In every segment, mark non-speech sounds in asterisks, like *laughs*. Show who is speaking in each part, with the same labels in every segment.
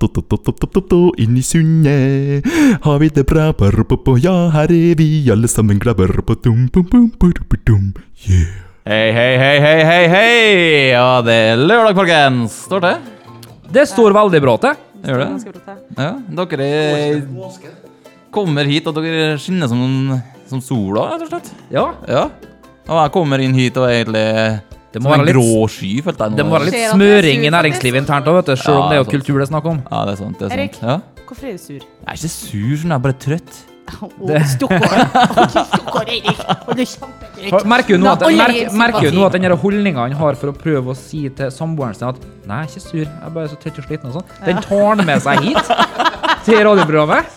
Speaker 1: Inn i sundet har vi det bra. Ja, her er vi alle sammen glade. Yeah.
Speaker 2: Hei, hei, hei, hei, hei, hei! Ja, det er lørdag, folkens! Står det?
Speaker 3: Det står veldig bra til.
Speaker 2: Gjør det? Ja, dere eh, kommer hit, og dere skinner som, som sola, rett og slett.
Speaker 3: Ja.
Speaker 2: Ja. Og jeg kommer inn hit og er egentlig
Speaker 3: Det
Speaker 2: som
Speaker 3: må
Speaker 2: en
Speaker 3: være litt-
Speaker 2: grå sky, følte jeg nå.
Speaker 3: Det må være
Speaker 4: Ser
Speaker 3: litt
Speaker 4: at jeg er
Speaker 3: smøring i
Speaker 4: sur,
Speaker 3: næringslivet internt òg, vet du. Selv
Speaker 2: Ja,
Speaker 3: om det
Speaker 2: sant.
Speaker 3: er jo kultur det er snakk om.
Speaker 2: Ja, det er sant. det er
Speaker 4: Erik.
Speaker 2: sant. Ja.
Speaker 4: Hvorfor er du sur?
Speaker 2: Jeg er ikke sur, sånn, jeg er bare trøtt.
Speaker 4: Å, Stokkår. *laughs* Å, Stokkår, Erik. Å, du er kjempegøy.
Speaker 3: For- Merker jo nå at,
Speaker 4: Nei,
Speaker 3: merk,
Speaker 4: jeg er
Speaker 3: merker jo
Speaker 4: sympati.
Speaker 3: nå at den her holdninga han har for å prøve å si til samboeren sin at 'Nei, jeg er ikke sur, jeg er bare så trøtt og sliten', og sånn, den tar han med seg hit til radioprogrammet.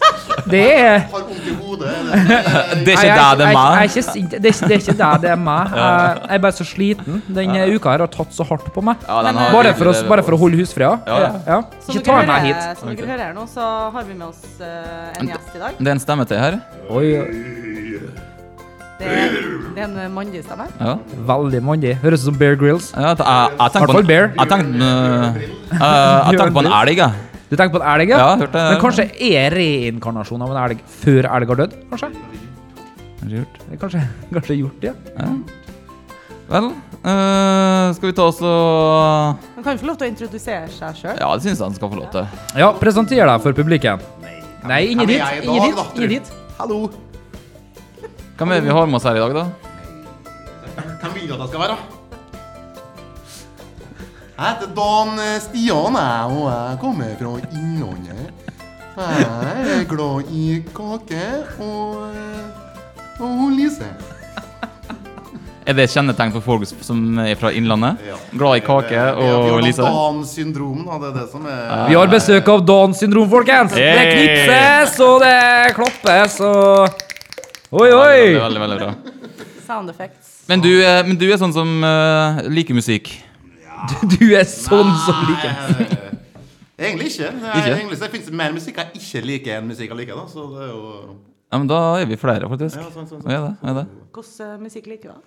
Speaker 3: Det er
Speaker 5: Har vondt i hodet.
Speaker 2: Det er
Speaker 3: Nei,
Speaker 2: ikke
Speaker 3: jeg-
Speaker 2: deg, det er
Speaker 3: jeg-
Speaker 2: meg.
Speaker 3: jeg er ikke sint. Det er ikke- det er ikke deg, det er meg. Jeg jeg er bare så sliten. Den uka her har tatt så hardt på meg.
Speaker 2: Ja, den har-
Speaker 3: eh, Bare for, å, bare for å holde husfreden.
Speaker 2: Ja, ja.
Speaker 4: Som
Speaker 3: Ikke
Speaker 4: dere,
Speaker 3: ta meg
Speaker 4: hører,
Speaker 3: hit.
Speaker 4: som dere hører her nå, så har vi med oss eh, en gjest i dag.
Speaker 2: Det er en stemme til her.
Speaker 3: Oi,
Speaker 4: Det er, det er en eh, mandig stemme.
Speaker 2: Ja.
Speaker 3: veldig mandig. Høres ut som Bear Grills.
Speaker 2: Ja, jeg, jeg, jeg tenker på
Speaker 3: Hvertfall
Speaker 2: en
Speaker 3: bear.
Speaker 2: Jeg tenkte øh, øh, Jeg tenkte på en elg, jeg.
Speaker 3: Du tenker på en elg?
Speaker 2: Ja, jeg hørte det.
Speaker 3: Men kanskje er reinkarnasjon av en elg før elg har dødd? Kanskje? Det er Kanskje, kanskje gjort det?
Speaker 2: Vel, øh, skal vi ta oss og
Speaker 4: Han kan jo få lov til å introdusere seg sjøl.
Speaker 2: Ja, det syns jeg han skal få lov til.
Speaker 3: Ja, presenter deg for publikum. Nei, ingen dit.
Speaker 5: Hvem er jeg
Speaker 3: Ingen dit.
Speaker 5: i dag, da,
Speaker 3: Ingen
Speaker 5: tror?
Speaker 3: dit.
Speaker 5: Hallo.
Speaker 2: Hvem er det vi har med oss her i dag, da?
Speaker 5: Hvem vil du at jeg skal være? Jeg heter Dan eh, Stian, jeg, og jeg kommer fra Innlandet. Jeg er glad i kake og eh, og hun Lise.
Speaker 2: Er det et kjennetegn for folk som er fra Innlandet?
Speaker 5: Ja. Eh,
Speaker 2: Glad i kake og Lise?
Speaker 5: Downs syndrom, da. Det er det som er
Speaker 3: Vi har besøk av Downs syndrom, folkens. Det
Speaker 2: Hey!
Speaker 3: knipses, og det klappes, og Oi,
Speaker 2: Veldig,
Speaker 3: oi!
Speaker 2: veldig, veldig bra.
Speaker 4: Sound effects.
Speaker 2: Men du, er- men du er sånn som øh, liker musikk?
Speaker 3: Du er sånn som liker
Speaker 5: liker eh, Egentlig ikke. Jeg,
Speaker 2: Ikke?
Speaker 5: egentlig, så det finnes mer musikk jeg ikke liker enn musikk jeg liker. da, så det er jo...
Speaker 2: Ja, men da er vi flere, faktisk.
Speaker 5: Ja, sånn, sånn, sånn.
Speaker 2: Ja, det, ja, det.
Speaker 4: Hvordan eh, musikk liker du? da?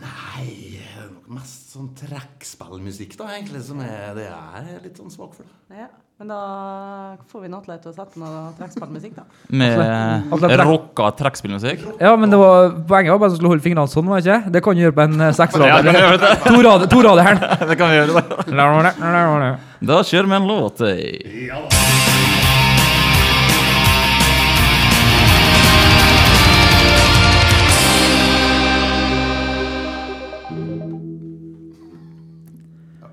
Speaker 5: Nei, det er nok mest sånn trekkspillmusikk, da, egentlig, som er det jeg er litt sånn svak for. da.
Speaker 4: Ja. Men da får vi en Atle til å sette noe trekkspillmusikk, da.
Speaker 2: Med
Speaker 3: Atle Trekk-
Speaker 2: rocka trekkspillmusikk?
Speaker 3: Ja, men det var poenget var bare at du skulle holde fingrene sånn, var det ikke? Det kan du gjøre på en eh,
Speaker 2: Ja, det
Speaker 3: seksrader.
Speaker 2: kan vi gjøre, det.
Speaker 3: To rader, to rader her.
Speaker 2: *laughs* det kan vi gjøre. Da. Da kjører vi en låt. eh.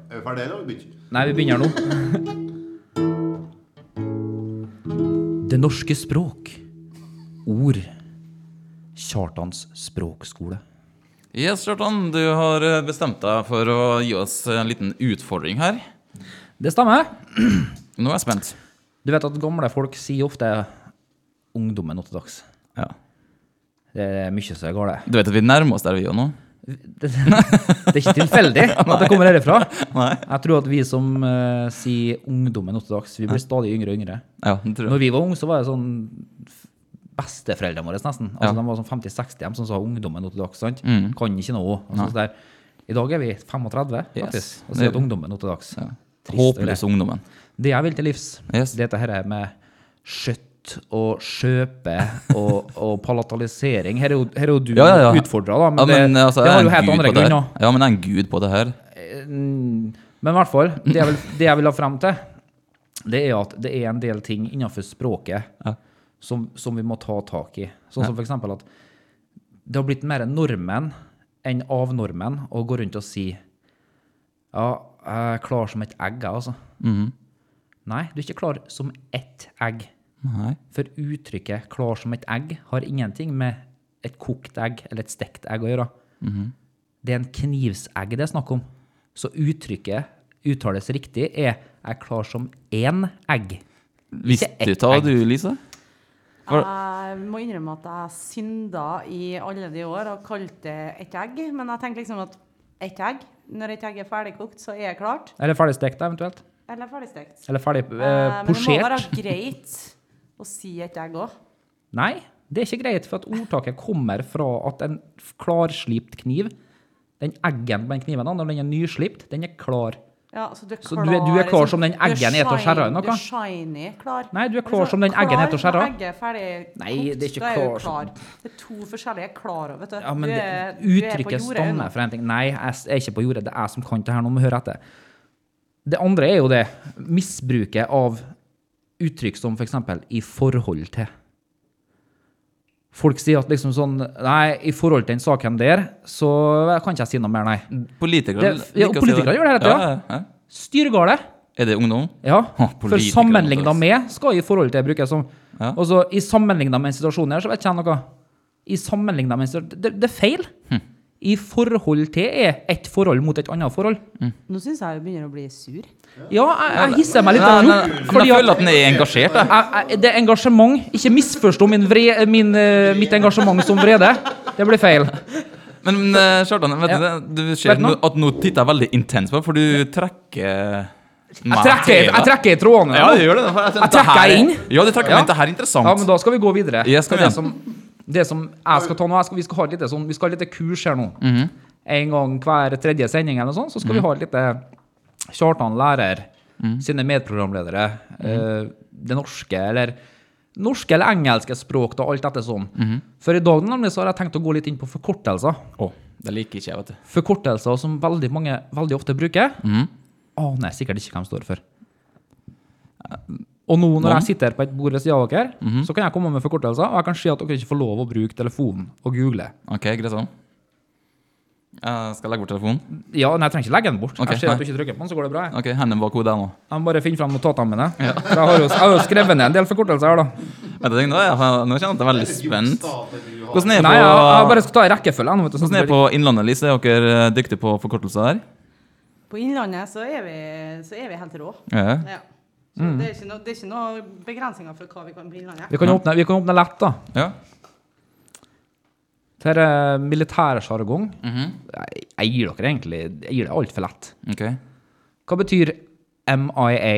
Speaker 5: Er vi ferdige, eller har vi begynt?
Speaker 3: Nei, vi begynner nå. Det norske språk. Ord. Kjartans språkskole.
Speaker 2: Yes, Kjartan, du har eh, bestemt deg for å gi oss en liten utfordring her.
Speaker 3: Det stemmer.
Speaker 2: Nå er jeg spent.
Speaker 3: Du vet at gamle folk sier ofte 'ungdommen nå til dags'.
Speaker 2: Ja.
Speaker 3: Det er mye som er galt.
Speaker 2: Du vet at vi nærmer oss der vi gjør nå?
Speaker 3: Det, det er ikke tilfeldig at det kommer herifra.
Speaker 2: Nei.
Speaker 3: Jeg tror at vi som eh, sier 'ungdommen nå til dags', vi blir stadig yngre og yngre.
Speaker 2: Ja, det tror jeg.
Speaker 3: Når vi var unge, så var det sånn Besteforeldrene våre, nesten. Altså,
Speaker 2: Ja. Mm.
Speaker 3: De var sånn 50-60 de som sa 'ungdommen nå til dags'. sant? Kan ikke noe. Og sånn der. I dag er vi 35 faktisk,
Speaker 2: Yes.
Speaker 3: og sier at 'ungdommen nå til dags'. Trist,
Speaker 2: Håpløs
Speaker 3: eller?
Speaker 2: ungdommen.
Speaker 3: Det jeg vil til livs,
Speaker 2: Yes.
Speaker 3: det er dette her med skjøtt og skjøpe og, og palatalisering. Her er jo, her er jo du
Speaker 2: Ja, ja, ja.
Speaker 3: utfordra, da. Men,
Speaker 2: Ja, men
Speaker 3: det,
Speaker 2: altså,
Speaker 3: det
Speaker 2: jeg
Speaker 3: har
Speaker 2: er
Speaker 3: jo
Speaker 2: en
Speaker 3: helt
Speaker 2: gud
Speaker 3: andre
Speaker 2: på det her.
Speaker 3: grunner.
Speaker 2: Ja, men jeg er en gud på det her.
Speaker 3: eh, mm, Men i hvert fall, det jeg, vil, det jeg vil ha frem til, det er at det er en del ting innenfor språket
Speaker 2: Ja.
Speaker 3: som, som vi må ta tak i. Sånn som for eksempel at det har blitt mer nordmenn enn av nordmenn å gå rundt og si ja, jeg er klar som et egg, jeg, altså. Nei, du er ikke klar som ett egg.
Speaker 2: Nei.
Speaker 3: For uttrykket 'klar som et egg' har ingenting med et kokt egg eller et stekt egg å gjøre. Det er en knivsegg det er snakk om. Så uttrykket uttales riktig er 'er klar som én egg'.
Speaker 2: Visste du ta du, Lise?
Speaker 4: Jeg må innrømme at jeg synda i alle de år og kalte det et egg. Men jeg tenker liksom at et egg, når et egg er ferdigkokt, så er det klart.
Speaker 3: Eller ferdigstekt, eventuelt.
Speaker 4: Eller ferdigstekt.
Speaker 3: Eller ferdig eh,
Speaker 4: Eh, men det må være
Speaker 3: posjert.
Speaker 4: greit å si et egg òg.
Speaker 3: Nei, det er ikke greit, for at ordtaket kommer fra at en f- klarslipt kniv Den eggen på den kniven, da, når den er nyslipt, den er klar.
Speaker 4: Ja, så du er klar,
Speaker 3: Så du er- du er klar som den
Speaker 4: liksom. Du er
Speaker 3: eggen er til å skjære i noe?
Speaker 4: shiny- Du er shiny klar.
Speaker 3: Nei, du er klar som den eggen er til å skjære.
Speaker 4: Når egget er ferdig kokt,
Speaker 3: Nei, det er ikke
Speaker 4: da du
Speaker 3: klar som-
Speaker 4: Det er to forskjellige klar, vet du.
Speaker 3: Ja, men
Speaker 4: du
Speaker 3: det,
Speaker 4: er, du er på
Speaker 3: uttrykket
Speaker 4: jordet
Speaker 3: stammer
Speaker 4: ennå.
Speaker 3: fra en ting. Nei, jeg s- er ikke på jordet. Det er jeg som kan det her, nå må du høre etter. Det andre er jo det misbruket av uttrykk som f.eks. i forhold til. Folk sier at liksom sånn Nei, i forhold til den saken der, så kan ikke jeg si noe mer, nei.
Speaker 2: Politikere
Speaker 3: Det- ja,
Speaker 2: liker å si
Speaker 3: politikere gjør det hele tida.
Speaker 2: Ja, ja, ja.
Speaker 3: Styrgale!
Speaker 2: Er det ungdom?
Speaker 3: Ja.
Speaker 2: Ha,
Speaker 3: For
Speaker 2: politikere,
Speaker 3: sammenligna
Speaker 2: Mathias.
Speaker 3: med skal i forhold til brukes som.
Speaker 2: Ja.
Speaker 3: Og så i sammenligna med en situasjon her, så vet ikke jeg noe. I sammenlignet med en situasjon Det, det er feil.
Speaker 2: Hm.
Speaker 3: I forhold til er ett forhold mot et annet forhold.
Speaker 4: Nå syns jeg jeg begynner å bli sur.
Speaker 3: Ja, jeg, jeg hisser meg litt
Speaker 2: Nei,
Speaker 3: over
Speaker 2: nei,
Speaker 3: nå,
Speaker 2: men
Speaker 3: fordi
Speaker 2: jeg føler at
Speaker 3: at
Speaker 2: den er engasjert. Jeg.
Speaker 3: jeg, jeg, det er engasjement. Ikke misforstå min vre, min, eh, mitt engasjement som vrede. Det blir feil.
Speaker 2: Men men, eh, Kjartan, vet du,
Speaker 3: Ja.
Speaker 2: det- du ser
Speaker 3: Vet du noe?
Speaker 2: nå- at nå titter jeg veldig intenst på deg, for du trekker meg
Speaker 3: Jeg trekker,
Speaker 2: til
Speaker 3: jeg
Speaker 2: deg.
Speaker 3: trekker i trådene.
Speaker 2: Ja, du gjør det. for jeg tenkte,
Speaker 3: trekker
Speaker 2: det her er-
Speaker 3: inn.
Speaker 2: Ja, du trekker
Speaker 3: Ja.
Speaker 2: meg inn. Det her er interessant.
Speaker 3: Ja, men da skal vi gå videre.
Speaker 2: Yes, kom
Speaker 3: det,
Speaker 2: igjen.
Speaker 3: som, det som jeg skal ta nå, jeg skal, vi skal ha et lite sånn, vi skal ha et lite kurs her nå. En gang hver tredje sending eller noe sånt, så skal vi ha et lite Kjartan lærer sine medprogramledere, eh, det norske eller norske eller engelske språk da, alt dette sånn. For i dag nemlig så har jeg tenkt å gå litt inn på forkortelser.
Speaker 2: Å, det liker ikke jeg, vet du.
Speaker 3: Forkortelser som veldig mange veldig ofte bruker.
Speaker 2: Mm.
Speaker 3: Aner jeg sikkert ikke hva de står for. Og nå når
Speaker 2: Noen? Mhm.
Speaker 3: jeg sitter på et bord ved siden av dere, så kan jeg komme med forkortelser, og jeg kan si at dere ikke får lov å bruke telefonen og google.
Speaker 2: Ok, greit sånn. Jeg skal legge bort telefonen.
Speaker 3: Ja, nei, jeg trenger ikke legge den bort.
Speaker 2: Ok,
Speaker 3: jeg ser at
Speaker 2: nei.
Speaker 3: du ikke trykker på den, så går det bra. jeg.
Speaker 2: Ok, hendene bak hodet her nå.
Speaker 3: Jeg må bare finne fram notatene mine. For jeg har jo, jeg har jo skrevet ned en del forkortelser
Speaker 2: *laughs*
Speaker 3: her, da.
Speaker 2: Vet du, nå, er jeg, nå kjenner jeg at jeg er veldig spent. Hvordan er
Speaker 3: Nei, jeg, jeg bare
Speaker 2: det på,
Speaker 3: skal ta i rekkefølge. jeg, nå, vet du, sånn
Speaker 2: hvordan er
Speaker 3: at
Speaker 2: det på Innlandet, Lise? Er dere eh, dyktige på forkortelser her?
Speaker 4: På Innlandet så er vi, så er vi helt rå.
Speaker 2: Ja.
Speaker 4: Ja. Så det, er ikke noe, det er ikke noe begrensninger for hva vi kan på Innlandet.
Speaker 3: Mm. vi, kan åpne, vi kan åpne lett, da.
Speaker 2: ja.
Speaker 3: Dette er eh, militærsjargong.
Speaker 2: Mhm.
Speaker 3: Jeg jeg gir dere egentlig Jeg gir det altfor lett.
Speaker 2: Ok. Eh,
Speaker 3: Hva betyr MIA?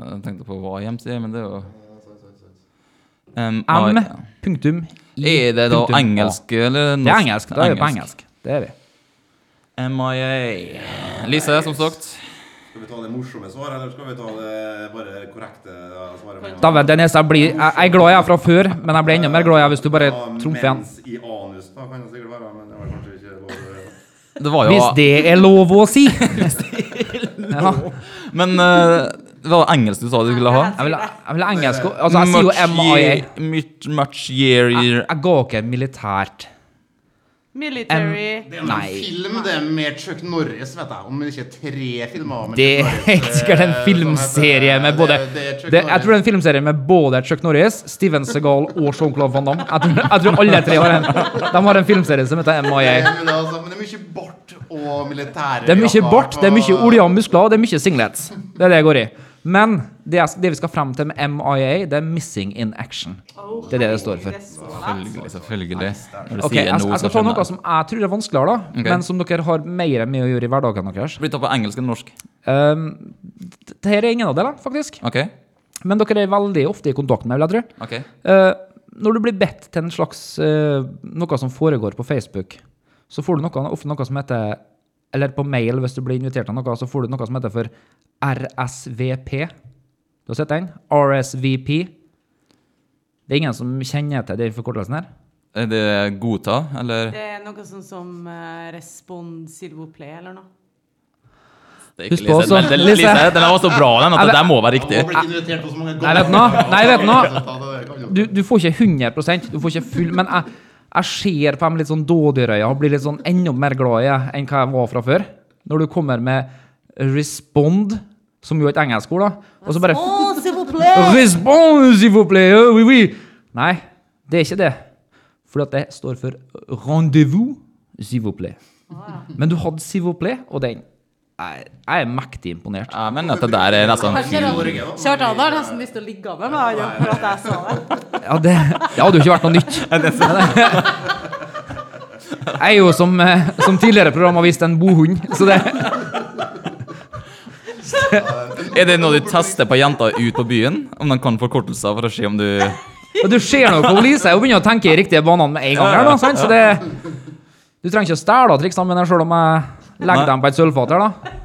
Speaker 2: Jeg tenkte på hva hjem sier, men det er jo
Speaker 3: M.
Speaker 2: M.
Speaker 3: Punktum. I.
Speaker 2: Er det da
Speaker 3: punktum A.
Speaker 2: engelsk eller norsk?
Speaker 3: Det er engelsk. Da er vi på engelsk. Det er vi.
Speaker 2: MIA. Lise, som sagt.
Speaker 6: Skal vi ta det morsomme svaret, eller skal vi ta det bare korrekte ja, svaret? med en gang?
Speaker 3: Dæven, Dennis, jeg blir Jeg jeg er glad jeg er fra før, men jeg blir enda mer glad jeg hvis du bare
Speaker 6: Ja,
Speaker 3: trumfer igjen.
Speaker 6: Mens i anus, da kan det sikkert være, men det var kanskje ikke lov å gjøre.
Speaker 2: Det var jo
Speaker 3: Hvis det er lov å *laughs* si! Ja.
Speaker 2: Men eh, det var engelsk du sa du skulle ha?
Speaker 3: Jeg vil, jeg vil ha engelsk og- Altså, jeg sier jo
Speaker 2: Much
Speaker 3: MIA.
Speaker 2: year- Much, much year year.
Speaker 3: Jeg ga ikke militært.
Speaker 4: Military
Speaker 5: Det er
Speaker 3: *laughs*
Speaker 5: en film det er med Chuck Norris, vet jeg. Om det ikke er tre filmer med
Speaker 3: Det
Speaker 5: Chuck
Speaker 3: er
Speaker 5: Norris.
Speaker 3: helt sikkert en filmserie med både det, Jeg tror det er en filmserie med både Chuck Norris, Steven Segal og Jean-Claude Van Damme. Jeg tror, jeg tror alle tre har en De har en filmserie som heter MIA.
Speaker 5: Men det er altså- men det er mye bart og militære
Speaker 3: Det er mye
Speaker 5: jakker
Speaker 3: bart, det er mye
Speaker 5: og-
Speaker 3: olje og muskler, og det er mye singlets. Det er det jeg går i. Men det, jeg, det vi skal frem til med MIA, det er Missing in Action. Det er det det står for.
Speaker 4: Det er så lett.
Speaker 2: Selvfølgelig. selvfølgelig. Når du
Speaker 3: Ah. Ok,
Speaker 2: sier
Speaker 3: jeg,
Speaker 2: noe,
Speaker 3: jeg
Speaker 2: så
Speaker 3: skal ta
Speaker 2: skjønner
Speaker 3: noe
Speaker 2: jeg.
Speaker 3: som jeg tror er vanskeligere, da,
Speaker 2: Ok.
Speaker 3: men som dere har mer med å gjøre i hverdagen deres.
Speaker 2: Blir det tatt på engelsk eller norsk?
Speaker 3: Um, Dette er ingen av delene, faktisk.
Speaker 2: Ok.
Speaker 3: Men dere er veldig ofte i kontakt med, vil jeg tro.
Speaker 2: ok.
Speaker 3: Eh, når du blir bedt til en slags eh, noe som foregår på Facebook, så får du noe, ofte noe som heter Eller på mail, hvis du blir invitert til noe, så får du noe som heter for RSVP. Du har sett den? RSVP. Det er ingen som kjenner til den forkortelsen her.
Speaker 2: Er det godta, eller?
Speaker 4: Det er noe sånn som eh, Respond Silvoplay eller noe.
Speaker 2: Det er
Speaker 3: Husk på også-
Speaker 2: men det-
Speaker 3: Lise.
Speaker 2: Lise, den var så bra, den, at det der må være
Speaker 5: Jeg har
Speaker 2: riktig.
Speaker 5: blitt invitert på så mange
Speaker 3: Nei, vet du
Speaker 5: ganger.
Speaker 3: nå? Nei, vet
Speaker 5: *laughs*
Speaker 3: du nå?
Speaker 5: Det kan jo-
Speaker 3: du, du får ikke 100 du får ikke full, men jeg, jeg ser på dem litt sånn dådyrøya og blir litt sånn enda mer glad i det enn hva jeg var fra før. Når du kommer med respond, som jo er et engelsk ord, da, og så bare
Speaker 4: Å, Silvoplay!
Speaker 3: Respond, s'il vous plaît, oh, oui, oui. Nei, det er ikke det. Fordi at det står for rendezvous, s'il vous plaît. Men du hadde s'il vous plaît, og den Jeg, jeg er mektig imponert.
Speaker 2: Ja, men dette der er nesten
Speaker 4: Kjartan har nesten lyst til å ligge med meg han, for at jeg sa det.
Speaker 3: Ja, det, det hadde jo ikke vært noe nytt. Jeg er jo som, eh, som tidligere program har vist en bohund, så det
Speaker 2: Er det noe du tester på jenter ut på byen? Om de kan forkortelser for å se om du
Speaker 3: Og du ser noe på Lise, hun begynner å tenke i riktige banene med en gang her, da, sant? Så det Du trenger ikke å stjele triksene mine selv om jeg legger
Speaker 2: Nei.
Speaker 3: dem på et sølvfat her, da.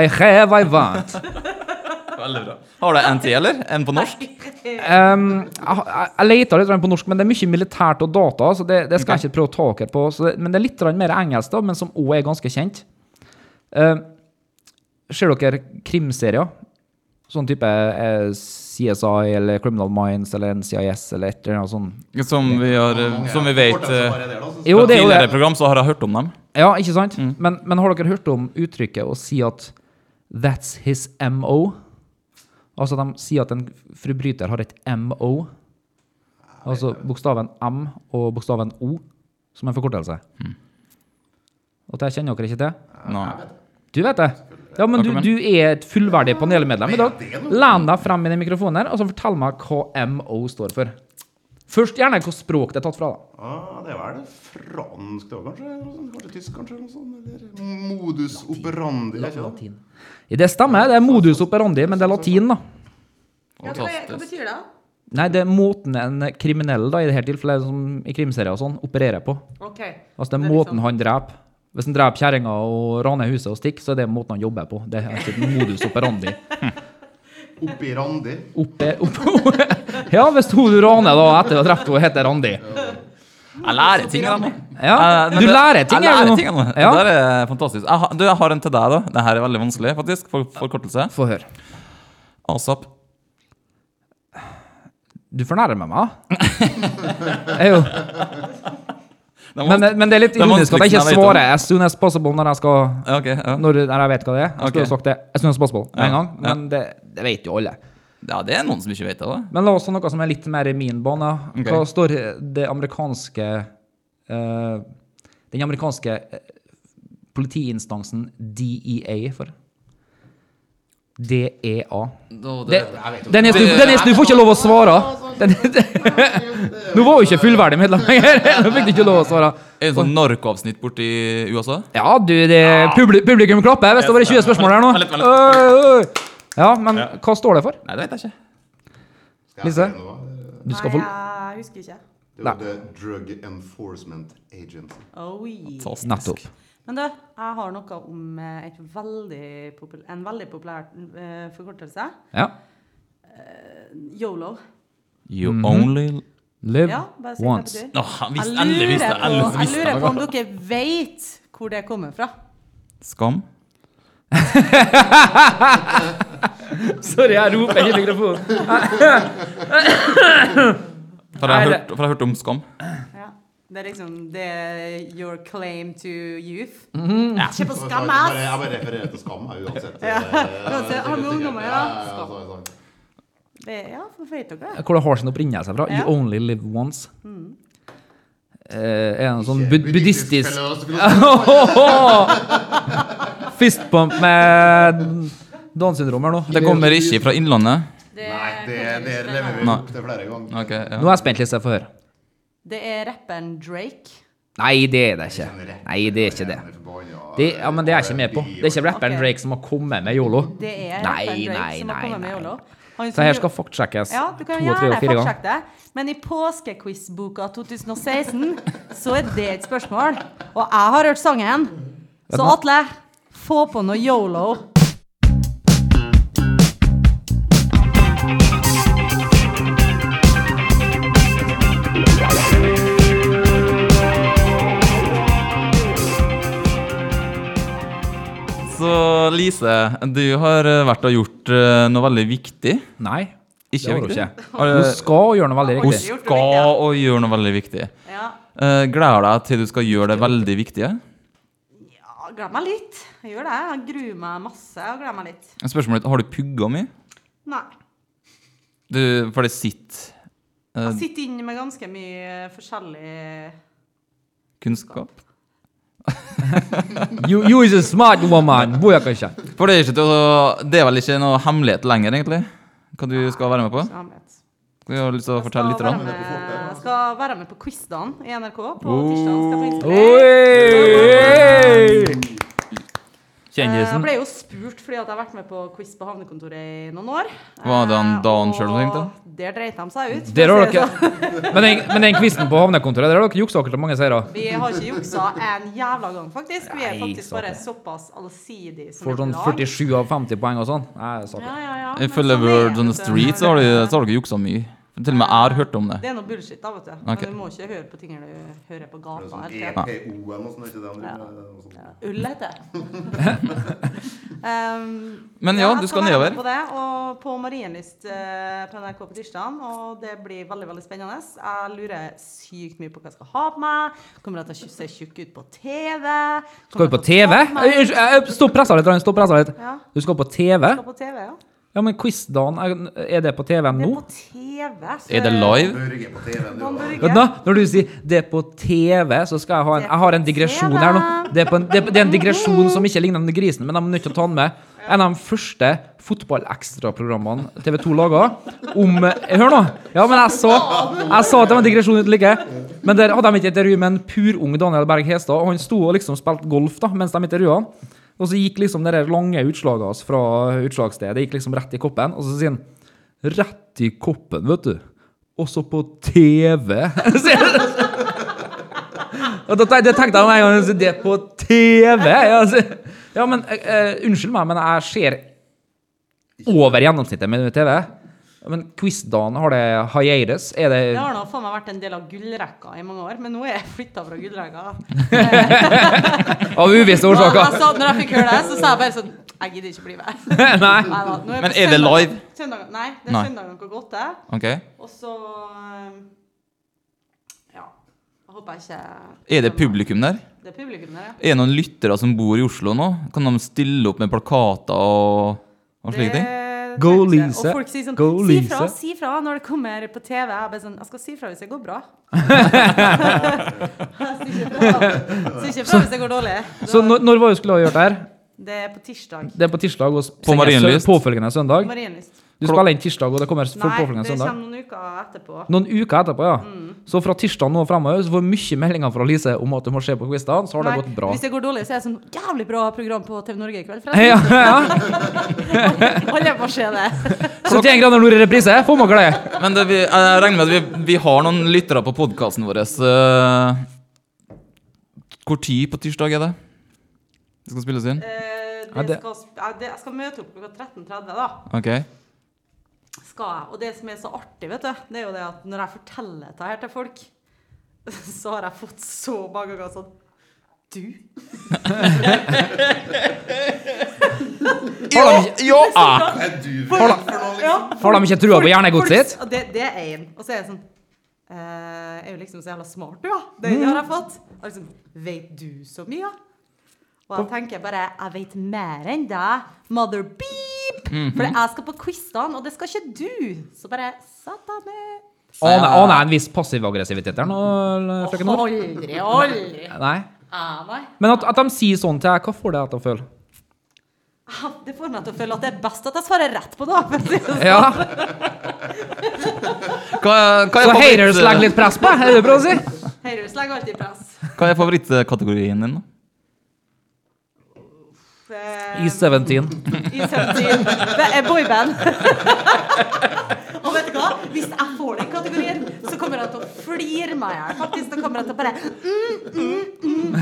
Speaker 3: I have, I want.
Speaker 2: Veldig bra. Har du en til, eller? En på norsk?
Speaker 3: Ehm, jeg, jeg- jeg leter litt grann på norsk, men det er mye militært og data, så det, det skal jeg ikke prøve å ta dere på. Så det, men det er litt grann mer engelsk, da, men som òg er ganske kjent. Ehm, ser dere krimserier? Sånn type eh, CSI eller Criminal Minds eller NCIS eller et eller annet sånt.
Speaker 2: Som vi, har, som vi vet eh,
Speaker 3: Jo,
Speaker 2: fra
Speaker 3: det er jo
Speaker 2: tidligere
Speaker 3: det.
Speaker 2: program, så har jeg hørt om dem.
Speaker 3: Ja, ikke sant? Men, men har dere hørt om uttrykket å si at 'that's his MO'? Altså de sier at en forbryter har et MO. Altså bokstaven M og bokstaven O som en forkortelse. Og det kjenner dere ikke til?
Speaker 2: Nå.
Speaker 3: Du vet det. Ja, men du,
Speaker 2: Velkommen.
Speaker 3: du er et fullverdig panelmedlem i dag. Len deg frem i den mikrofonen her, og så fortell meg hva MO står for. Først gjerne hvilket språk det er tatt fra, da.
Speaker 6: Ah, det er vel fransk, det var kanskje? eller noe sånt, Kanskje tysk, kanskje? eller noe sånt, Eller
Speaker 5: Modus operandi. er ikke det?
Speaker 3: Latin. Det stemmer, det er modus operandi, men det er latin, da.
Speaker 4: Ja, hva, hva betyr det?
Speaker 3: Nei, det er måten en kriminell da, i det her tilfellet, som i krimserier og sånn, opererer på.
Speaker 4: OK.
Speaker 3: Altså, det
Speaker 4: Det
Speaker 3: er
Speaker 4: er
Speaker 3: måten
Speaker 4: liksom-
Speaker 3: han dreper. Hvis han dreper kjerringa og raner huset og stikker, så er det måten han jobber på. Det er altså et modus operandi.
Speaker 5: Operandi.
Speaker 3: Oppe, oppe. Ja, hvis hun du raner da etter å ha drept henne, heter Randi.
Speaker 2: Jeg lærer ting av dem.
Speaker 3: Ja,
Speaker 2: Eh, men
Speaker 3: du
Speaker 2: det-
Speaker 3: lærer ting,
Speaker 2: jeg
Speaker 3: gjør du
Speaker 2: lærer
Speaker 3: nå?
Speaker 2: ting av dem.
Speaker 3: Ja.
Speaker 2: Det der er fantastisk. Jeg, har- du, jeg har en til deg, da. Det her er veldig vanskelig, faktisk. For, forkortelse.
Speaker 3: Få høre.
Speaker 2: ASAP.
Speaker 3: Du fornærmer
Speaker 2: *laughs*
Speaker 3: meg. Jeg er jo
Speaker 2: Det var-
Speaker 3: Men, eh, men det er litt
Speaker 2: Det er
Speaker 3: ironisk at jeg ikke
Speaker 2: vanskeligste jeg vet om.
Speaker 3: svarer as soon as possible når jeg skal
Speaker 2: Ja, ok, ja.
Speaker 3: Når, når jeg vet hva det er. Jeg skulle
Speaker 2: Ok.
Speaker 3: jo sagt det as soon as possible med en
Speaker 2: Ja,
Speaker 3: gang, men det, det vet jo alle.
Speaker 2: ja, det er noen som ikke vet det, da.
Speaker 3: Men la oss ta noe som er litt mer i min bane.
Speaker 2: Ok.
Speaker 3: Hva står det amerikanske eh, Den amerikanske eh, politiinstansen DEA for? DEA. Det, Dennis, du, Dennis, du får ikke lov å svare! Dennis, *laughs* Nå var jo ikke fullverdig medlem lenger! Nå fikk *laughs* du ikke lov å svare.
Speaker 2: Er det sånn narkoavsnitt borti USA?
Speaker 3: Ja, du, det, publi- publikum klapper hvis det var 20 spørsmål her nå.
Speaker 2: Vent litt, vent
Speaker 3: Oi, oi. Ja, men hva står det for?
Speaker 2: Nei, det vet jeg ikke.
Speaker 3: Lise?
Speaker 5: Det var-
Speaker 3: Du skal få
Speaker 4: Nei, jeg husker ikke.
Speaker 5: Det var The Drug Enforcement Agency.
Speaker 4: Oi.
Speaker 2: Fantastisk.
Speaker 3: Nettopp.
Speaker 4: Men du, jeg har noe om eh, et veldig popul en veldig populær eh, forkortelse.
Speaker 3: Ja.
Speaker 4: Yolo.
Speaker 2: You only
Speaker 3: Live
Speaker 4: Ja, bare si hva det
Speaker 3: once.
Speaker 4: betyr.
Speaker 2: Mhm. Åh, han
Speaker 4: Jeg
Speaker 2: visste, endelig
Speaker 4: lurer,
Speaker 2: visste jeg.
Speaker 4: på,
Speaker 2: Endelig
Speaker 4: jeg
Speaker 2: visste
Speaker 4: lurer på
Speaker 2: jeg.
Speaker 4: om dere vet hvor det kommer fra.
Speaker 2: Skam.
Speaker 3: Sorry, jeg roper ikke i mikrofonen.
Speaker 2: For jeg har
Speaker 3: Nei,
Speaker 2: hørt, for jeg har hørt om skam.
Speaker 4: Ja. Det er liksom det er your claim to youth.
Speaker 3: Mm-hmm.
Speaker 4: Ikke på skam, ass!
Speaker 5: Jeg bare refererer til skam, jeg, uansett.
Speaker 4: *laughs*
Speaker 5: Eh,
Speaker 4: Ja, uansett, har vi
Speaker 5: Ja,
Speaker 4: ungdommer, ja.
Speaker 5: ja, altså, ja, ja, ja, ja.
Speaker 4: Det, ja, for vet dere det?
Speaker 3: *laughs* Hvor det har sin opprinnelse fra.
Speaker 4: Ja. Mm.
Speaker 3: You only live once. Eh, er det en sånn bud
Speaker 5: Buddhistisk
Speaker 3: buddhistisk
Speaker 5: filosofi.
Speaker 3: fist bump med Downs syndrom her nå?
Speaker 2: Det kommer ikke fra Innlandet.
Speaker 5: Nei, det, det lever vi
Speaker 2: Nei.
Speaker 5: opp til flere ganger.
Speaker 2: Ok, ja.
Speaker 3: Nå er jeg spent, Lise. Få høre.
Speaker 4: Det er rapperen Drake.
Speaker 3: Nei, det er det ikke. Nei, det er ikke det. det ja, men det er jeg ikke med på. Det er ikke rapperen
Speaker 4: Ok.
Speaker 3: Drake som har kommet med yolo.
Speaker 4: Det er
Speaker 3: Nei,
Speaker 4: rapperen Drake
Speaker 3: nei,
Speaker 4: som har
Speaker 3: nei,
Speaker 4: kommet med
Speaker 3: nei.
Speaker 4: Yolo. Han
Speaker 3: Så
Speaker 4: som
Speaker 3: her
Speaker 4: jo-
Speaker 3: skal faktsjekkes
Speaker 4: Ja, du
Speaker 3: to,
Speaker 4: kan
Speaker 3: tre og
Speaker 4: gjerne
Speaker 3: fire ganger.
Speaker 4: fortsette det. Men i påskequiz-boka 2016 så er det et spørsmål. Og jeg har hørt sangen. Så Atle, få på noe yolo.
Speaker 2: Så Lise, du har eh, vært og gjort eh, noe veldig viktig.
Speaker 3: Nei, det
Speaker 2: Ikke
Speaker 3: har hun
Speaker 2: viktig.
Speaker 3: ikke.
Speaker 2: Har
Speaker 3: Hun
Speaker 2: du-
Speaker 3: skal gjøre noe veldig
Speaker 2: Hun
Speaker 3: riktig.
Speaker 4: Gjort noe viktig,
Speaker 2: skal og gjøre noe veldig viktig.
Speaker 4: Ja,
Speaker 2: Eh, Gleder deg til du skal gjøre det veldig viktige.
Speaker 4: jeg gleder meg litt. Jeg gjør det. Jeg gruer meg masse og gleder meg litt.
Speaker 2: Spørsmålet er, har du pugga mye?
Speaker 4: Nei.
Speaker 2: Du, for det sitter eh,
Speaker 4: Jeg sitter inne med ganske mye forskjellig
Speaker 2: kunnskap.
Speaker 3: You, you is a smart woman. Boja kanskje.
Speaker 2: For det er, ikke til å, det er vel ikke noe hemmelighet lenger, egentlig? Hva du skal være med på?
Speaker 4: hemmelighet.
Speaker 2: Du har lyst til å fortelle litt?
Speaker 4: Skal
Speaker 2: Rann.
Speaker 4: være med, skal være med på quizdagen i NRK på Eh,
Speaker 2: Oh.
Speaker 4: tirsdag.
Speaker 3: Oi!
Speaker 4: Eh, Jeg
Speaker 2: Kjendisen?
Speaker 4: ble jo spurt fordi at jeg har vært med på quiz på havnekontoret i noen år.
Speaker 2: Var det han
Speaker 4: Eh,
Speaker 2: Dan selv som
Speaker 4: og
Speaker 2: tenkte?
Speaker 4: Der dreit de seg ut. for
Speaker 3: Der
Speaker 4: å
Speaker 3: har dere
Speaker 4: si det sånn.
Speaker 3: Men den, men den quizen på havnekontoret, der har dere juksa dere til mange seire.
Speaker 4: Vi har ikke juksa en jævla gang, faktisk. Vi er
Speaker 3: Nei,
Speaker 4: faktisk bare
Speaker 3: satan.
Speaker 4: såpass allsidig som
Speaker 3: Får
Speaker 4: et
Speaker 3: sånn
Speaker 4: lag.
Speaker 3: 47 av 50 poeng og sånn. Nei, saken.
Speaker 4: Ja, ja, ja. men
Speaker 2: Ifølge
Speaker 4: sånn er
Speaker 2: Words
Speaker 4: det,
Speaker 2: on the
Speaker 4: vet du.
Speaker 2: Street så har du, så har du ikke juksa mye. Til og med jeg har hørt om det.
Speaker 4: Det er noe bullshit, da, vet du.
Speaker 2: Ok.
Speaker 4: Men du må ikke høre på ting du hører på
Speaker 6: Det er
Speaker 4: gata.
Speaker 6: sånn
Speaker 5: E
Speaker 4: helt klart.
Speaker 6: EPO eller noe sånt, er ikke det han driver med? Noe sånt.
Speaker 4: Ull heter det. um,
Speaker 2: Men ja, du
Speaker 4: jeg
Speaker 2: skal
Speaker 4: være med
Speaker 2: nedover.
Speaker 4: På det, og på Marienlyst eh, på NRK på tirsdag. Og det blir veldig veldig spennende. Jeg lurer sykt mye på hva jeg skal ha på meg. Kommer jeg til å se tjukk ut på TV?
Speaker 3: Skal vi på TV? Unnskyld, jeg- jeg- Stopp pressa litt, Ryan, stopp pressa litt.
Speaker 4: Ja.
Speaker 3: Du skal på TV?
Speaker 4: Skal på TV, ja.
Speaker 3: Ja, men quizdagen, er- er det på TV-en
Speaker 4: Det er
Speaker 3: nå?
Speaker 4: på TV. så-
Speaker 2: Er det live?
Speaker 6: Børge på TV-en, det
Speaker 4: Man
Speaker 6: var-
Speaker 4: bør
Speaker 3: Ja,
Speaker 4: ikke-
Speaker 3: da, når du sier 'det er på TV', så skal jeg ha en Jeg har en digresjon her nå. Det er, på en, det er, på- det er en digresjon som ikke ligner den grisen, men jeg er nødt til å ta den med. En av de første fotballekstraprogrammene TV 2 laga om eh, Hør nå! Ja, men jeg sa, jeg sa at det var en digresjon uten like. Men der hadde de et intervju med en purung Daniel Berg Hestad, og han sto og liksom spilte golf da, mens de intervjua han. Og så gikk liksom det der lange utslaget hans fra utslagsstedet gikk liksom rett i koppen, og så sier han Rett i koppen, vet du. Også på TV. *laughs* Sier han. Og da tenkte, det tenkte jeg med en gang. så Det er på TV! Ja, så- ja men eh, eh, Unnskyld meg, men jeg ser over gjennomsnittet med TV. Men quizdagen, har det Hayeres? Er det
Speaker 4: Det har nå faen meg vært en del av gullrekka i mange år, men nå er jeg flytta fra gullrekka.
Speaker 3: av uvisse
Speaker 4: Og
Speaker 3: årsaker?
Speaker 4: jeg sa- altså, Når jeg fikk høre det, så sa jeg bare sånn Jeg gidder ikke bli
Speaker 3: *laughs*
Speaker 4: med.
Speaker 3: Nei.
Speaker 4: Nei da, nå
Speaker 2: Men
Speaker 4: på
Speaker 2: er det
Speaker 4: søndag-
Speaker 2: live?
Speaker 4: Søndag, nei, det er
Speaker 2: Nei.
Speaker 4: søndag klokka åtte.
Speaker 2: Ok.
Speaker 4: Og så ehm, Ja. Jeg håper jeg ikke
Speaker 2: Er det publikum der?
Speaker 4: Det er publikum der, ja.
Speaker 2: Er det noen lyttere som bor i Oslo nå? Kan de stille opp med plakater og, og slike ting?
Speaker 4: Det-
Speaker 3: Go,
Speaker 4: det-
Speaker 3: Lise.
Speaker 4: Og folk sier sånn
Speaker 3: Go,
Speaker 4: Si fra,
Speaker 3: Lise."
Speaker 4: si fra når det kommer på TV. Jeg bare sånn Jeg skal si fra hvis det
Speaker 2: *laughs*
Speaker 4: går bra. Jeg sier ikke fra- sier ikke fra hvis det går dårlig.
Speaker 3: Så når, når var det vi skulle ha gjort det her?
Speaker 4: Det er på tirsdag.
Speaker 3: Det er på tirsdag og sendes
Speaker 2: Marienlyst.
Speaker 3: påfølgende søndag.
Speaker 4: Marienlyst.
Speaker 3: Du spiller inn tirsdag, og det kommer
Speaker 4: Nei,
Speaker 3: påfølgende
Speaker 4: det Mm.
Speaker 3: søndag.
Speaker 4: kommer noen uker etterpå.
Speaker 3: Noen uker etterpå, ja. Så fra tirsdag nå og fremover så får vi mye meldinger fra Lise om at du må se på quizene, så har det
Speaker 4: Nei,
Speaker 3: gått bra.
Speaker 4: Hvis det går dårlig, så er det sånn jævlig bra program på TV Norge i kveld, forresten.
Speaker 3: *laughs* Ja, ja.
Speaker 4: *laughs* Alle må se det.
Speaker 3: 71 grader nord i reprise, får man glede.
Speaker 2: Men det, vi, jeg regner med at vi, vi har noen lyttere på podkasten vår. eh, Hvor tid på tirsdag er det? Det skal spilles inn?
Speaker 4: Eh,
Speaker 3: *laughs* Ja,
Speaker 4: det
Speaker 3: det-
Speaker 4: skal, sp- ja, det, jeg skal møte opp klokka 13.30, da.
Speaker 2: Ok.
Speaker 4: Skal jeg. Og det som er så artig, vet du, det er jo det at når jeg forteller dette her til folk, *laughs* så har jeg fått så mange ganger sånn Du?
Speaker 6: Hva er du for noe, liksom?
Speaker 4: Ja.
Speaker 3: Har de ikke trua på hjernegodset sitt?
Speaker 4: og Det, det er én. Og så er jeg sånn eh, Er jo liksom så jævla smart, du, da. Det har jeg
Speaker 3: Mm.
Speaker 4: fått. Og liksom Veit du så mye, da? Og jeg tenker bare Jeg veit mer enn deg, mother beep!
Speaker 3: Mhm.
Speaker 4: For jeg skal på quizene, og det skal ikke du. Så bare satane.
Speaker 3: Aner aner jeg en viss passiv aggressivitet der nå, eller, frøken Nord?
Speaker 4: Aldri, aldri.
Speaker 3: Nei.
Speaker 4: Ah, nei.
Speaker 3: Men at, at de sier sånn til deg, hva får det deg til å føle?
Speaker 4: Ah, Det får meg til å føle at det er best at jeg svarer rett på det. for å si det sånn.
Speaker 3: Ja,
Speaker 2: Hva, hva, er
Speaker 3: Så haters
Speaker 2: favoritt,
Speaker 3: legger litt eh, press på deg, er det det du prøver å si?
Speaker 4: Høyrehus legger alltid press.
Speaker 2: hva er favorittkategorien din? da?
Speaker 4: Eh,
Speaker 3: I 17.
Speaker 4: I 70. Det er boyband. *laughs* Og vet du hva? Hvis jeg får den kategorien, så kommer jeg til å flire meg i hjel. Faktisk, da kommer jeg til å bare mm, mm, mm, mm.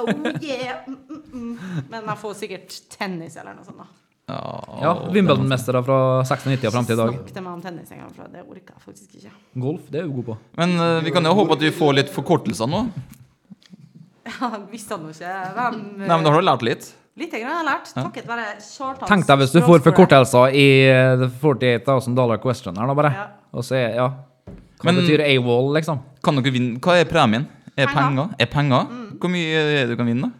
Speaker 4: Oh yeah. Mm, mm, mm. Men jeg får sikkert tennis eller noe sånt. da.
Speaker 3: Ja, Wimbledon-mestere fra 96 og frem til i dag.
Speaker 4: Snakk til meg om tennis en gang, for det orker jeg faktisk ikke.
Speaker 3: Golf, det er du god på.
Speaker 2: Men eh, vi kan jo håpe at du får litt forkortelser nå.
Speaker 4: Jeg visste nå ikke hvem
Speaker 2: Nei, men da har du lært litt.
Speaker 4: Litt grann har jeg lært, takket være Kjartans
Speaker 3: Tenk deg hvis du får
Speaker 4: språkskole.
Speaker 3: forkortelser i eh, the 48 000 dollar question her nå, bare.
Speaker 4: Ja.
Speaker 3: Og så er, ja. Hva
Speaker 2: Men-
Speaker 3: betyr AWOL, liksom?
Speaker 2: Kan dere vinne? Hva er premien? Er
Speaker 4: Penger.
Speaker 2: penger?
Speaker 4: Mm.
Speaker 2: Er penger? Hvor mye er det du kan vinne, da?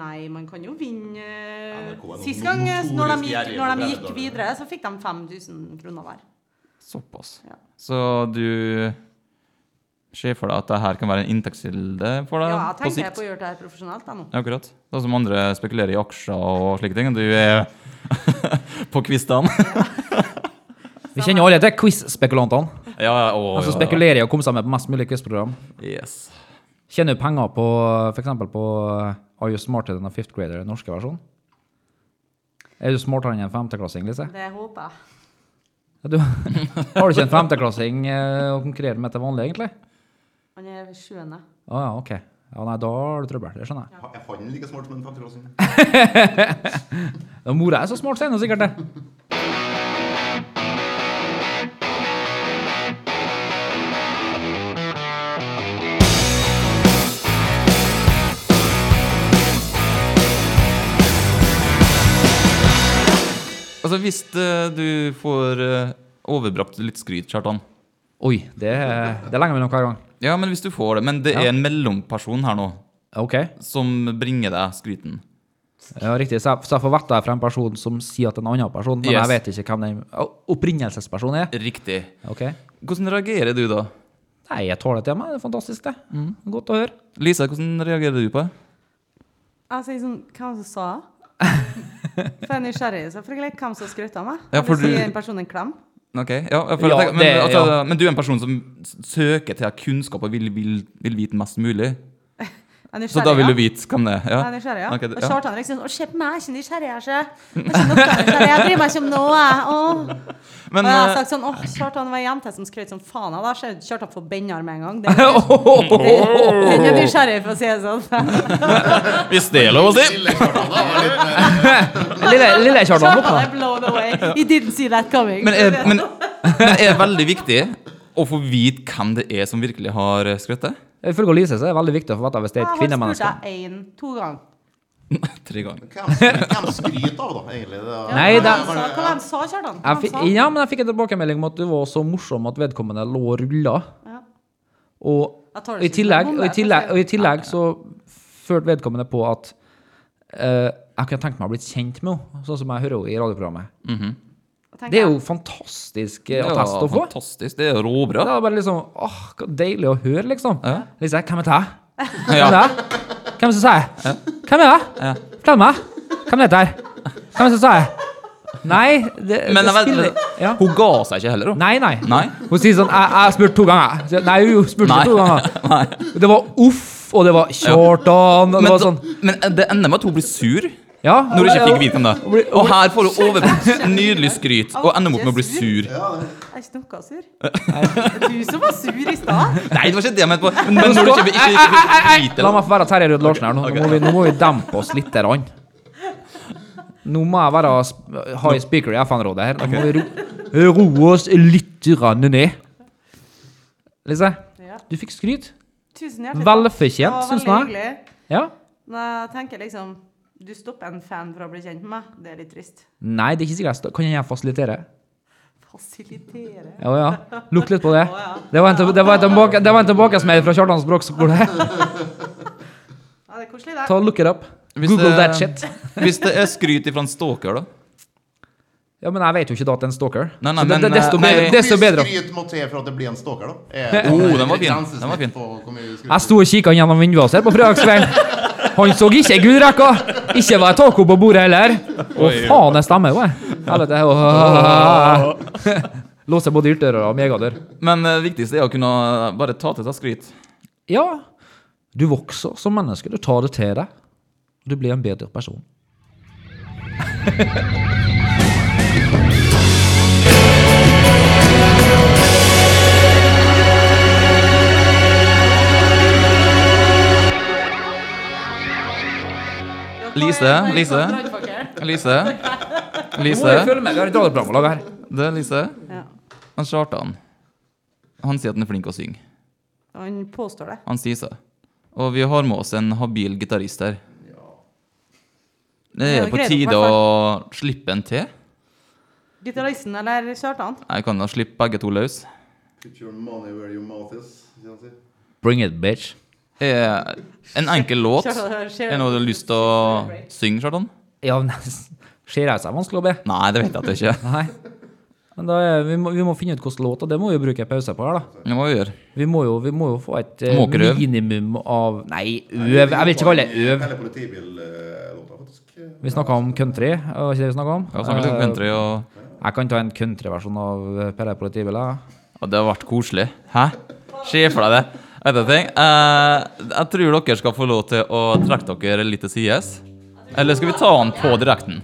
Speaker 4: Nei, man kan jo vinne eh,
Speaker 6: NRK er noen
Speaker 4: Sist gang, eh,
Speaker 6: notorisk
Speaker 4: når de gikk,
Speaker 6: gjerrige
Speaker 4: når de gikk
Speaker 6: programledere.
Speaker 4: videre, så fikk de 5000 kroner hver.
Speaker 2: Såpass.
Speaker 4: Ja.
Speaker 2: Så du ser for deg at det her kan være en inntektskilde for deg
Speaker 4: Ja, jeg
Speaker 2: på
Speaker 4: tenker
Speaker 2: sikt?
Speaker 4: på å gjøre det her profesjonelt, jeg nå.
Speaker 2: Ja, Akkurat. Det er som andre spekulerer i aksjer og slike ting. og Du er *laughs* på
Speaker 4: *laughs*
Speaker 2: kvistene.
Speaker 3: Vi kjenner alle til quiz-spekulantene.
Speaker 2: ja, ja, å,
Speaker 3: De som
Speaker 4: Altså
Speaker 2: ja, ja.
Speaker 3: spekulerer i å komme seg med på mest mulig quiz-program.
Speaker 2: Yes.
Speaker 3: Tjener du penger på f.eks. på Are you smarter than a fifth grader, den norske versjonen? Er du smartere enn en femteklassing, Lise?
Speaker 4: Det håper jeg.
Speaker 3: Ja, Du, *laughs* har du ikke en femteklassing eh, å konkurrere med til vanlig, egentlig?
Speaker 4: Han er sjuende.
Speaker 3: Å ja, OK. Ja, nei, da har du trøbbel. Det skjønner jeg.
Speaker 6: Er han like smart som en femteklassing?
Speaker 3: Ja, Mora er så smart, sier hun sikkert det.
Speaker 2: Altså, hvis eh, du får eh, overbrakt litt skryt, Kjartan
Speaker 3: Oi, det, det lenger mellom hver gang.
Speaker 2: Ja, men hvis du får det. Men det
Speaker 3: Ja.
Speaker 2: er en mellomperson her nå
Speaker 3: OK.
Speaker 2: som bringer deg skryten.
Speaker 3: Ja, riktig. Så jeg, så jeg får vite det fra en person som sier at en annen person, men
Speaker 2: Yes.
Speaker 3: jeg vet ikke hvem den å, opprinnelsespersonen er.
Speaker 2: Riktig.
Speaker 3: OK.
Speaker 2: Hvordan reagerer du da?
Speaker 3: Nei, jeg tåler det til meg. Det er fantastisk, det. Mm, Godt å høre.
Speaker 2: Lisa, hvordan reagerer du på det?
Speaker 4: Jeg sier sånn Hva var det
Speaker 2: *laughs*
Speaker 4: som sa det? For jeg er nysgjerrig, så får jeg leke hvem som skrøt av meg.
Speaker 2: Ja, for
Speaker 4: Vil du
Speaker 2: du-
Speaker 4: gi en person en klem?
Speaker 2: Ok, ja, jeg føler
Speaker 3: Ja,
Speaker 2: at jeg- men,
Speaker 3: det-
Speaker 2: altså,
Speaker 3: ja.
Speaker 2: men du er en person som s- søker til kunnskap og vil, vil, vil vite mest mulig.
Speaker 4: Jeg er
Speaker 2: Så
Speaker 4: nysgjerrig,
Speaker 2: da vil
Speaker 4: ja.
Speaker 2: du vite hvem det er? Ja.
Speaker 4: Jeg er nysgjerrig, ja.
Speaker 2: Ok, det-
Speaker 4: Og
Speaker 2: ja.
Speaker 4: Kjartan liksom Å, se på meg, jeg er ikke nysgjerrig, jeg, sjø. Jeg er ikke noe nysgjerrig, jeg bryr meg ikke om noe. Åh.
Speaker 2: Men,
Speaker 4: og jeg har
Speaker 2: eh,
Speaker 4: sagt sånn Å, Kjartan det var ei jente som skrøt som faen av deg. Så Kjartan forbanner med en
Speaker 2: *laughs*
Speaker 4: gang. Det er-
Speaker 2: Oh.
Speaker 4: Den er nysgjerrig, for å si det sånn.
Speaker 2: hvis *laughs* det er lov å si!
Speaker 3: Lille, lille Kjartan
Speaker 4: Kjartan er
Speaker 3: våkna.
Speaker 4: blown away. He didn't see that coming.
Speaker 2: *laughs* Men
Speaker 4: *laughs*
Speaker 2: er, men, men er veldig viktig å få vite hvem det er som virkelig har eh, skrøttet?
Speaker 3: Ifølge Lise så er det veldig viktig å få vite hvis det er
Speaker 4: jeg
Speaker 3: et
Speaker 4: har spurt
Speaker 3: kvinnemenneske.
Speaker 4: deg én, to ganger.
Speaker 2: *laughs* Tre ganger.
Speaker 6: Hvem, hvem skryter av, da, egentlig? Det er-
Speaker 3: Nei,
Speaker 4: Hva
Speaker 3: da-
Speaker 4: de sa, hva de sa, Kjartan?
Speaker 3: Jeg
Speaker 4: Hva de
Speaker 3: fi-
Speaker 4: sa?
Speaker 3: ja, men jeg fikk en tilbakemelding om at du var så morsom at vedkommende lå og rulla.
Speaker 4: Ja.
Speaker 3: Og,
Speaker 4: Jeg tar
Speaker 3: og,
Speaker 4: det
Speaker 3: i
Speaker 4: ikke som
Speaker 3: tillegg,
Speaker 4: en
Speaker 3: og, i
Speaker 4: bombe,
Speaker 3: tillegg,
Speaker 4: for å
Speaker 3: og i tillegg så følte vedkommende på at eh, jeg kunne tenkt meg å bli kjent med henne, sånn som jeg hører henne i radioprogrammet.
Speaker 4: Og
Speaker 3: Det
Speaker 4: tenker
Speaker 3: er
Speaker 4: jeg,
Speaker 3: jo fantastisk eh,
Speaker 2: Ja,
Speaker 3: attest å få.
Speaker 2: Fantastisk. Det er jo
Speaker 3: Det
Speaker 2: råbra.
Speaker 3: er bare liksom åh, hva deilig å høre, liksom.
Speaker 2: Ja.
Speaker 3: Lise, hvem er det? Hvem er
Speaker 2: Ja.
Speaker 3: det? Hvem er det som sier det? Hvem er det? Fortell meg. Hvem er det der? Hvem er det som sier det? Nei, det,
Speaker 2: Men jeg
Speaker 3: det
Speaker 2: vet-
Speaker 3: spiller ja.
Speaker 2: Hun ga seg ikke heller, hun.
Speaker 3: Nei, nei.
Speaker 2: Nei.
Speaker 3: Hun sier sånn Jeg jeg spurte to ganger. Så jeg, Nei, hun spurte
Speaker 2: Nei.
Speaker 3: to ganger.
Speaker 2: Nei.
Speaker 3: Det var uff, og det var Kjartan, og
Speaker 2: Men,
Speaker 3: det var sånn
Speaker 2: da- men det ender med at hun blir sur
Speaker 3: Ja.
Speaker 2: når du ikke fikk
Speaker 3: ja.
Speaker 2: vite hvem det er. Og her får hun overbrukt nydelig skryt og ender opp med å bli sur.
Speaker 4: jeg er ikke noe sur. Det er du som var sur i stad.
Speaker 2: Nei, det var ikke det jeg mente på. Men når du ikke, ikke, ikke, fikk vite
Speaker 3: La
Speaker 2: det.
Speaker 3: meg få være Terje Rød Larsen her. Nå, nå, må vi, nå må vi dempe oss litt. Der, an. Nå må jeg være sp- high speaker i FN-rådet her. Nå må vi ro, roe oss litt grann ned. Lise,
Speaker 4: Ja.
Speaker 3: du fikk skryt.
Speaker 4: Tusen hjertelig takk. Det
Speaker 3: Velfortjent,
Speaker 4: var
Speaker 3: syns
Speaker 4: veldig
Speaker 3: jeg.
Speaker 4: hyggelig.
Speaker 3: Ja.
Speaker 4: Men jeg tenker liksom Du stopper en fan fra å bli kjent med meg. Det er litt trist.
Speaker 3: Nei, det er ikke sikkert. jeg sta- Kan jeg fasilitere?
Speaker 4: Fasilitere
Speaker 3: Ja, ja. Lukk litt på det.
Speaker 4: Å, ja.
Speaker 3: Det var en, til- det var en, tilbake, det var en tilbakesmell fra Kjartans språkskole.
Speaker 4: Ja, det er koselig, det.
Speaker 3: Ta og Look it up.
Speaker 2: Hvis
Speaker 3: Google
Speaker 2: det-
Speaker 3: that shit.
Speaker 2: Hvis det er skryt ifra en stalker, da?
Speaker 3: Ja, Men jeg vet jo ikke da at det er en stalker.
Speaker 2: Nei, nei,
Speaker 3: Så det,
Speaker 2: men,
Speaker 3: det, desto
Speaker 2: eh,
Speaker 3: bedre.
Speaker 2: nei.
Speaker 3: Desto bedre.
Speaker 5: Hvor mye skryt må til for at det blir en stalker, da?
Speaker 2: Oh, den var fin. Den var fin.
Speaker 3: Jeg sto og kikka gjennom vinduet hans her på fredagskvelden. Han så ikke gullrekka. Ikke var det taco på bordet heller. Å, faen, det stemmer jo, jeg. Helvete. åh. *laughs* Låser både ytterdøra og megadør.
Speaker 2: Men det viktigste er å kunne eh, bare ta til seg skryt.
Speaker 3: Ja, du vokser som menneske. Du tar det til deg. Du blir en bedre person.
Speaker 2: Lise, Lise, Lise. Lise.
Speaker 3: med. Vi har et radioprogramlag her.
Speaker 2: Det er Lise.
Speaker 4: Ja.
Speaker 2: Han Kjartan. Han sier at han er flink å synge.
Speaker 4: Han påstår det.
Speaker 2: Han sier seg. Og vi har med oss en habil gitarist her. Det
Speaker 4: Ja,
Speaker 2: er
Speaker 4: det
Speaker 2: på
Speaker 4: gleder
Speaker 2: tide
Speaker 4: meg
Speaker 2: å slippe en til.
Speaker 4: Gitaristen eller Kjartan?
Speaker 2: Jeg kan da slippe begge to løs.
Speaker 6: Put your money where your mouth is. ikke sant?
Speaker 3: Bring it, bitch.
Speaker 2: Er Eh, en enkel låt.
Speaker 4: Kjartan,
Speaker 2: Er
Speaker 4: skjer-
Speaker 2: det noe du har lyst til å synge, Kjartan?
Speaker 3: Ja, men *laughs* ser jeg seg vanskelig å be?
Speaker 2: Nei, det vet jeg at det ikke er.
Speaker 3: Nei. Men da er, vi, må, vi må finne ut hvilken låt, og det må vi jo bruke en pause på her, da.
Speaker 2: Det må vi gjøre.
Speaker 3: Vi må jo, vi må jo få et eh,
Speaker 2: Må ikke du øve?
Speaker 3: minimum av Nei, øv Jeg vil ikke kalle det øv.
Speaker 6: Hele politibillåta, faktisk.
Speaker 3: Vi snakka om country, og ikke det vi snakket om?
Speaker 2: Jeg har snakket litt om
Speaker 3: Eh,
Speaker 2: country, og,
Speaker 3: Jeg kan ta en countryversjon av eh, Per Politibil.
Speaker 2: og det har vært koselig. Hæ? Se for deg det. Vet du en ting? Eh, jeg tror dere skal få lov til å trekke dere litt til sides. Eller skal vi ta den på direkten?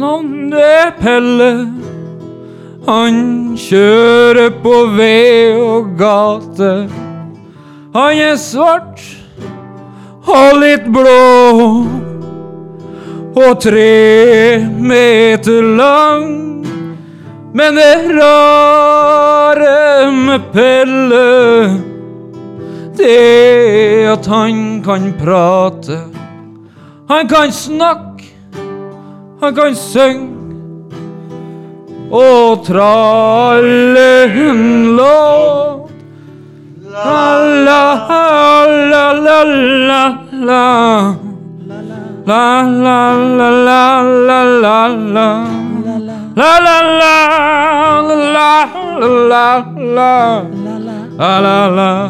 Speaker 7: navn er Pelle. Han kjører på vei og gate. Han er svart og litt blå. Og tre meter lang. Men det rare med Pelle, det er at han kan prate. Han kan snakke, han kan synge. Og tralle en låt. La, la, la, la, la, la. La, la, la, la, la, la, la. La, la, la, la, la, la. La, la, la, la,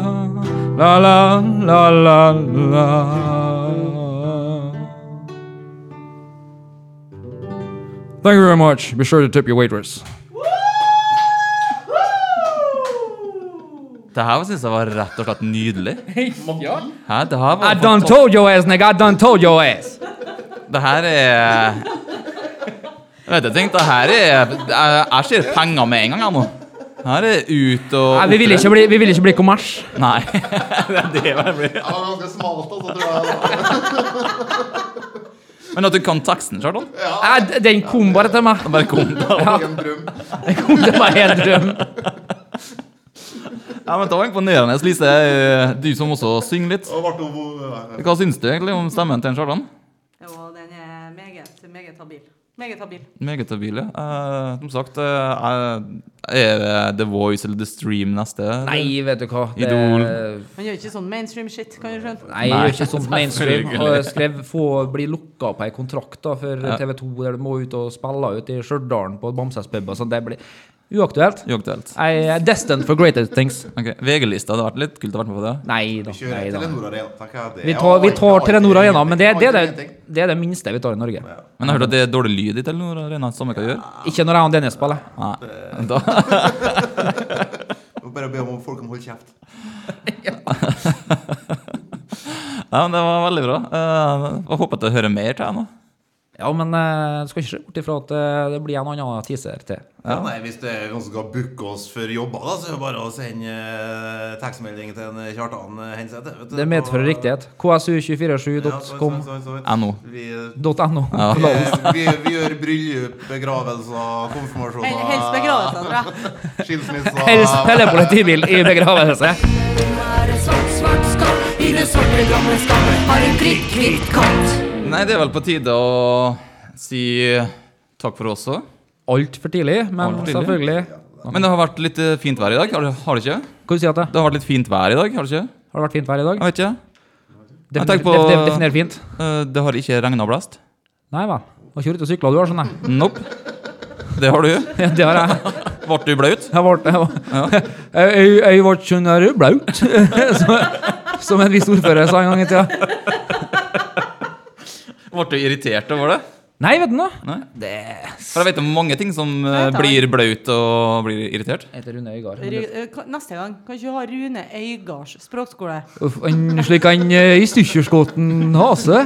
Speaker 7: la, la, la, la. Thank you very much. Be sure to tip your waitress.
Speaker 2: Det her syns jeg var rett og slett nydelig.
Speaker 3: Ja.
Speaker 2: Hæ? Det her
Speaker 7: I
Speaker 2: var
Speaker 7: done told your ass, nigga. I done told your ass.
Speaker 2: Det her er Jeg vet ikke, tenk, det her er Jeg, jeg ser penger med en gang, jeg nå. Her er ut og
Speaker 3: Ah,
Speaker 7: Nei, vi vil ikke bli, vi vil ikke bli kommers.
Speaker 2: Nei. *laughs* det er det jeg blir.
Speaker 5: var ganske smalt, altså, *laughs* tror jeg.
Speaker 2: Men at du kan teksten, Kjartan?
Speaker 7: Nei,
Speaker 3: Ah,
Speaker 7: d- Den kom bare til meg.
Speaker 2: Det Bare
Speaker 3: *laughs*
Speaker 2: kom da.
Speaker 5: Det var en drøm.
Speaker 7: Den kom til meg helt drøm.
Speaker 2: Ja, men Det var imponerende. Lise, eh, du som også synger litt.
Speaker 5: Og ble hun-
Speaker 2: Hva syns du egentlig om stemmen til en Kjartan?
Speaker 4: Og den er meget, meget habil. Meget habil.
Speaker 2: Meget habil, ja. Eh, som sagt, eh, er det The Voice eller The Stream neste?
Speaker 3: Nei, vet du hva.
Speaker 2: Idol.
Speaker 4: Han gjør ikke sånn mainstream shit, kan du skjønne.
Speaker 3: Nei, jeg
Speaker 2: Nei,
Speaker 3: gjør ikke sånt mainstream.
Speaker 2: selvfølgelig.
Speaker 3: Og jeg skrev få bli lukka på ei kontrakt da for TV2, der du må ut og spille ut i Stjørdal på Bamses pub. og sånt. Det blir uaktuelt.
Speaker 2: Uaktuelt.
Speaker 3: I am destined for greater things.
Speaker 2: Ok, VG-lista, det hadde vært litt kult å være med på det?
Speaker 3: Nei da.
Speaker 5: Kjører
Speaker 3: Nei, da.
Speaker 5: Telenor Arena, tenker jeg. Det
Speaker 3: Vi
Speaker 5: er
Speaker 3: tar, vi
Speaker 5: alt-
Speaker 3: tar
Speaker 5: alt-
Speaker 3: Telenor Arena, men det, det, er
Speaker 5: alt-
Speaker 3: det, det er det minste vi tar i Norge.
Speaker 2: Men jeg hørte at det er dårlig lyd i Telenor Arena. Samme hva jeg gjør.
Speaker 3: Ikke når jeg og Dennis spiller.
Speaker 2: Nei. Da,
Speaker 5: Bare be om folk om å holde kjeft.
Speaker 2: ja, men det var veldig bra. Eh, Jeg håper at jeg hører mer til jeg nå.
Speaker 3: Ja, men eh, du skal ikke se bort ifra at eh, det blir en annen teaser til.
Speaker 5: Ja. nei, Hvis det er noen som skal booke oss for jobber, da, så er det bare å sende eh, tekstmelding til en Kjartan eh, Henseth. vet du.
Speaker 3: Det medfører riktighet.
Speaker 5: Ja, så vidt,
Speaker 3: ksu247.com.
Speaker 5: så vidt, så vidt.
Speaker 2: NO.
Speaker 5: Vi,
Speaker 3: .no.
Speaker 5: eh, vi, vi gjør bryllup, begravelser, konfirmasjoner
Speaker 4: Hel- Helst begravelser, tror jeg.
Speaker 5: Skilsmisser.
Speaker 3: Helst Pelle politibil i begravelse.
Speaker 2: Nei, det er vel på tide å si takk for oss òg.
Speaker 3: Altfor tidlig, men
Speaker 2: Alt for tidlig.
Speaker 3: selvfølgelig.
Speaker 2: Men det har vært litt eh, fint vær i dag, har det, har det ikke?
Speaker 3: Hva du sier du?
Speaker 2: Det har vært litt fint vær i dag, har det ikke?
Speaker 3: Har det vært fint vær i dag?
Speaker 2: Jeg vet ikke. Jeg
Speaker 3: Definer,
Speaker 2: tenker på-
Speaker 3: def- def- definer fint.
Speaker 2: Eh, Det har ikke regna og blåst.
Speaker 3: Nei vel. Har ikke vært ute og sykla du har, skjønner jeg. *laughs*
Speaker 2: Nope. Det har du.
Speaker 3: Ja, Det har jeg.
Speaker 2: Ble du blaut?
Speaker 3: Jeg ble, jeg ble, *laughs* jeg, jeg ble sånn der blaut, *laughs* som- som en viss ordfører sa en gang i tida.
Speaker 2: Ble du irritert over det?
Speaker 3: Nei, vet du nå.
Speaker 2: For jeg vet om mange ting som eh,
Speaker 4: Nei, takk.
Speaker 2: blir blaut og blir irritert.
Speaker 3: Jeg heter Rune Øygard.
Speaker 4: Ru- eh, ka- Neste gang kan ikke ha Rune Øygards språkskole.
Speaker 3: Uff, en slik en eh, i stykkjeskåten hase.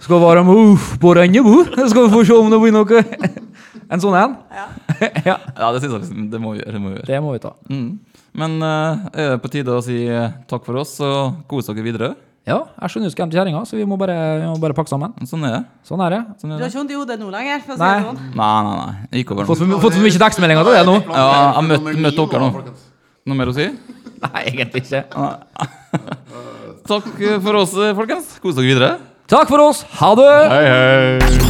Speaker 3: Skal være med uff på Rennebo. Skal vi få se om det blir noe. En sånn en. *laughs*
Speaker 2: Ja, det synes jeg liksom, det må vi gjøre. Det må vi gjøre.
Speaker 3: Det må vi ta.
Speaker 2: Mm. Men eh, er det på tide å si eh, takk for oss, og kos dere videre?
Speaker 3: Ja, jeg skjønner jo skam til kjerringa, så vi må bare, vi må bare pakke sammen.
Speaker 2: Sånn er det.
Speaker 3: Sånn er det.
Speaker 2: Sånn er
Speaker 4: Du har
Speaker 2: det.
Speaker 4: ikke vondt i hodet nå lenger? for å si
Speaker 3: Nei.
Speaker 4: det sånn.
Speaker 2: Nei, nei, nei. Jeg Gikk over nå.
Speaker 3: Fått for, my- fått for mye tekstmeldinger til det nå?
Speaker 2: Ja, jeg møtte- møtte dere nå. Noe mer å si?
Speaker 3: Nei, egentlig ikke.
Speaker 2: Takk eh, for oss, eh, folkens. Kos dere videre.
Speaker 3: Takk for oss. Ha det!
Speaker 2: Hei, hei.